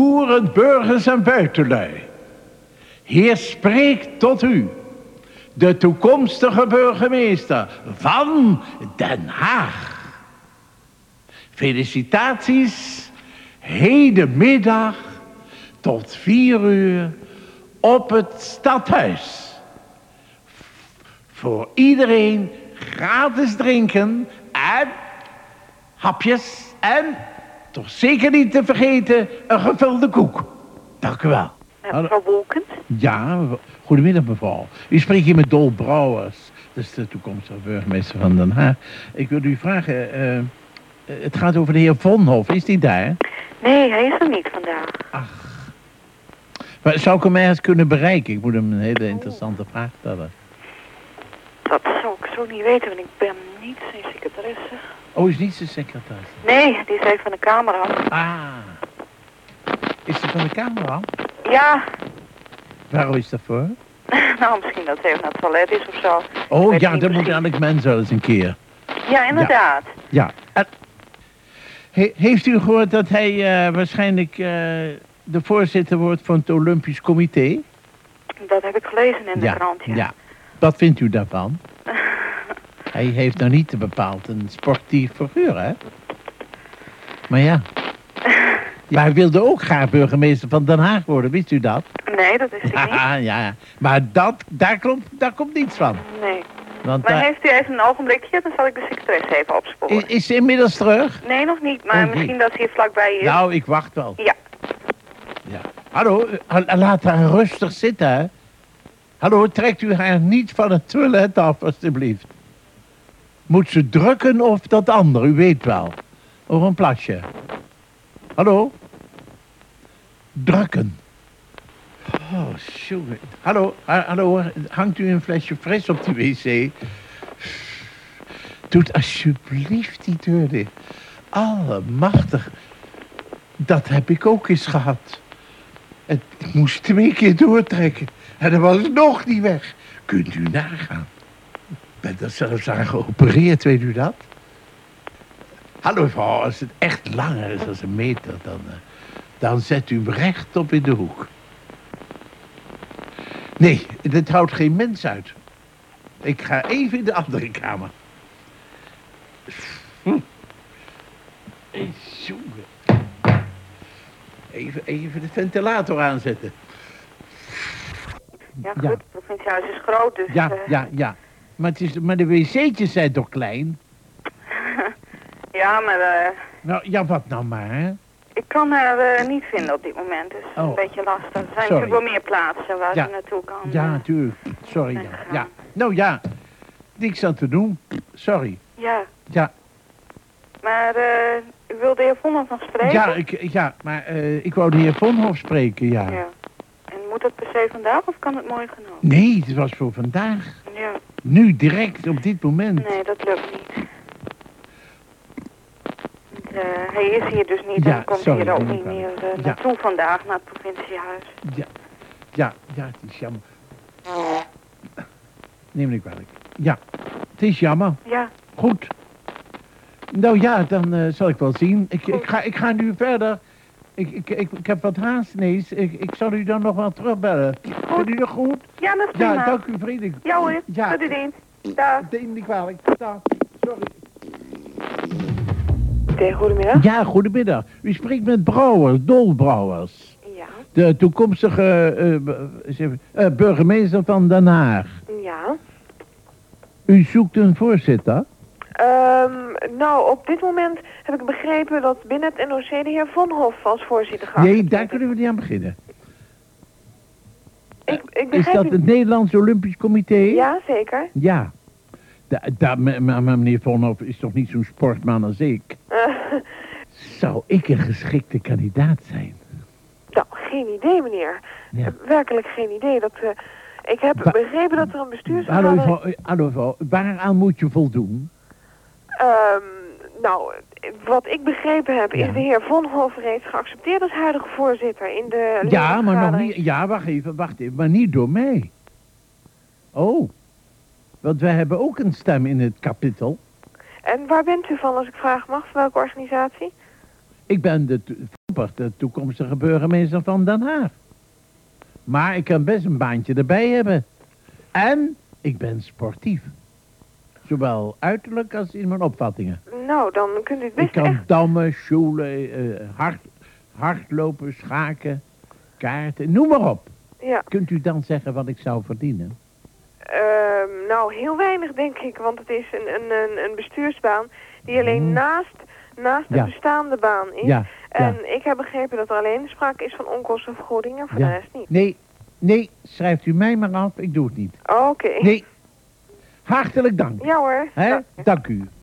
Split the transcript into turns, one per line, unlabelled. boeren, burgers en buitenlui. Hier spreekt tot u de toekomstige burgemeester van Den Haag. Felicitaties, hedenmiddag tot vier uur op het stadhuis. Voor iedereen gratis drinken en hapjes en toch zeker niet te vergeten een gevulde koek. Dank u wel.
Eh,
Hallo.
Mevrouw Wolkens?
Ja, w- goedemiddag mevrouw. U spreekt hier met Dol Brouwers. Dat is de toekomstige burgemeester van Den Haag. Ik wil u vragen, eh, eh, het gaat over de heer Vonhof. Is die daar?
Nee, hij is er niet vandaag.
Maar Zou ik hem ergens kunnen bereiken? Ik moet hem een hele interessante vraag stellen.
Dat zou ik zo niet weten, want ik ben niet zijn secretaresse.
Oh, is niet zijn secretaris.
Nee, die zijn van de Kamer af.
Ah. Is hij van de Kamer af?
Ja,
Waarom is dat voor?
nou misschien dat hij even naar het toilet is of zo.
Oh
weet
ja,
niet
dat moet
precies.
elk mens wel eens een keer.
Ja, inderdaad.
Ja. en- He- heeft u gehoord dat hij eh, waarschijnlijk eh, de voorzitter wordt van het Olympisch Comité?
Dat heb ik gelezen in de krant, ja.
ja. Wat vindt u daarvan? hij heeft nou niet bepaald een sportief figuur, hè? Maar ja. Maar hij wilde ook graag burgemeester van Den Haag worden, wist u dat?
Nee, dat is ik niet.
Ja, ja. Maar dat, daar, klopt, daar komt niets van.
Nee.
Want
Maar
daar-
heeft u even een ogenblikje, dan zal ik de secretaresse even opsporen.
is, is ze inmiddels terug?
Nee, nog niet, maar
Oh, nee.
misschien dat hij hier vlakbij is.
Nou, ik wacht wel.
Ja.
Ja. Hallo, eh, laat haar rustig zitten, hè. Hallo, trekt u haar niet van het toilet af, alstublieft. Moet ze drukken of dat ander, u weet wel. Of een plasje. Hallo? Drukken. Oh, jongen. Hallo, ha- hallo, hoor. hangt u een flesje fris op de wc? Doet alsjeblieft die deur dicht. Allemachtig. Dat heb ik ook eens gehad. Het moest twee keer doortrekken. En dan was het nog niet weg. Kunt u nagaan. Ik ben er zelfs aan geopereerd, weet u dat? Hallo mevrouw, als het echt langer is dan een meter, dan, eh, dan zet u hem rechtop in de hoek. Nee, dit houdt geen mens uit. Ik ga even in de andere kamer. Hm. Hey, jongen. Even, even de ventilator aanzetten.
Ja, goed,
ja.
het provinciehuis is groot, dus...
Ja,
eh,
ja, ja. Maar, het is, maar de wc'tjes zijn toch klein?
ja, maar eh,
Nou, ja, wat nou maar, hè?
ik kan haar eh, niet vinden op dit moment, dus
Oh.
een beetje lastig. Er zijn
Sorry.
natuurlijk wel meer plaatsen waar
Ja.
ze naartoe kan.
Ja,
eh.
natuurlijk. Sorry.
eh,
Ja. ja. Nou ja, niks aan te doen. Sorry.
Ja.
Ja.
Maar eh, u wilde de heer Vonhoff nog spreken?
Ja, ik, ja maar eh, ik wou de heer Vonhof spreken, ja.
Ja. En moet dat per se vandaag of kan het morgen genomen?
Nee, het was voor vandaag.
Ja,
Nu, direct, op dit moment.
nee, dat lukt niet. Want, eh, hij is hier dus niet
Ja,
en komt
sorry,
hier ook
ben ik
niet
wel.
meer eh,
Ja.
naartoe vandaag naar het provinciehuis.
Ja, ja, het is jammer. Neem ik kwalijk. Ja, het is jammer.
Ja,
Goed. Nou ja, dan eh, zal ik wel zien. Ik,
Goed.
ik, ga, ik ga nu verder. Ik, ik, ik, ik heb wat haast ineens. Ik, ik zal u dan nog wel terugbellen. Vindt u dat goed?
ja dat is prima.
Ja, dank u vriendelijk.
Ja hoor,
Ja.
tot u dienst. Dag.
Neem niet kwalijk. Dag. Sorry.
goedemiddag.
Ja, goedemiddag. U spreekt met Brouwers, Dol Brouwers.
Ja,
De toekomstige eh, bu- eens even, eh, burgemeester van Den Haag.
Ja.
U zoekt een voorzitter?
Ehm, nou, op dit moment heb ik begrepen dat binnen het NOC de heer Von Hof als voorzitter gaat.
nee, daar kunnen we niet aan beginnen.
Ik, ik
Is
begrijp
dat
niet-
het Nederlands Olympisch Comité?
Ja, zeker.
Ja. Da, da, me- maar maar meneer Vonhoff is toch niet zo'n sportman als ik?
Eh,
Zou ik een geschikte kandidaat zijn?
nou, geen idee, meneer.
Ja.
Werkelijk geen idee. Dat, eh, ik heb
Wa-
begrepen dat er een
Dus
Hallo,
bestuursvergadering...
mevrouw, eh, hallo mevrouw, waaraan moet je voldoen?
Ehm, nou, eh, wat ik begrepen heb
Ja.
is de heer Von Hof reeds geaccepteerd als huidige voorzitter in de...
Ja, maar nog
ledenvergadering.
niet. Ja, wacht even, wacht even, maar niet door mij. Oh, want wij hebben ook een stem in het kapitel.
En waar bent u van, als ik vragen mag? Van welke organisatie?
Ik ben de t- Robert, de toekomstige burgemeester van Den Haag. Maar ik kan best een baantje erbij hebben. En ik ben sportief. Zowel uiterlijk als in mijn opvattingen.
Nou, dan kunt u het
Ik
best
kan
echt...
dammen, sjoelen, eh, hard, hardlopen, schaken, kaarten, noem maar op.
Ja,
Kunt u dan zeggen wat ik zou verdienen?
ehm, nou, heel weinig denk ik, want het is een, een, een, een bestuursbaan die alleen
Hmm.
naast, naast de
Ja.
bestaande baan is.
Ja,
En ik heb begrepen dat er alleen sprake is van onkostenvergoeding en voor
Ja.
de rest niet.
nee, nee, schrijft u mij maar af, ik doe het niet.
Oké.
Nee, hartelijk dank.
Ja hoor.
Hè?
Ja.
Dank u.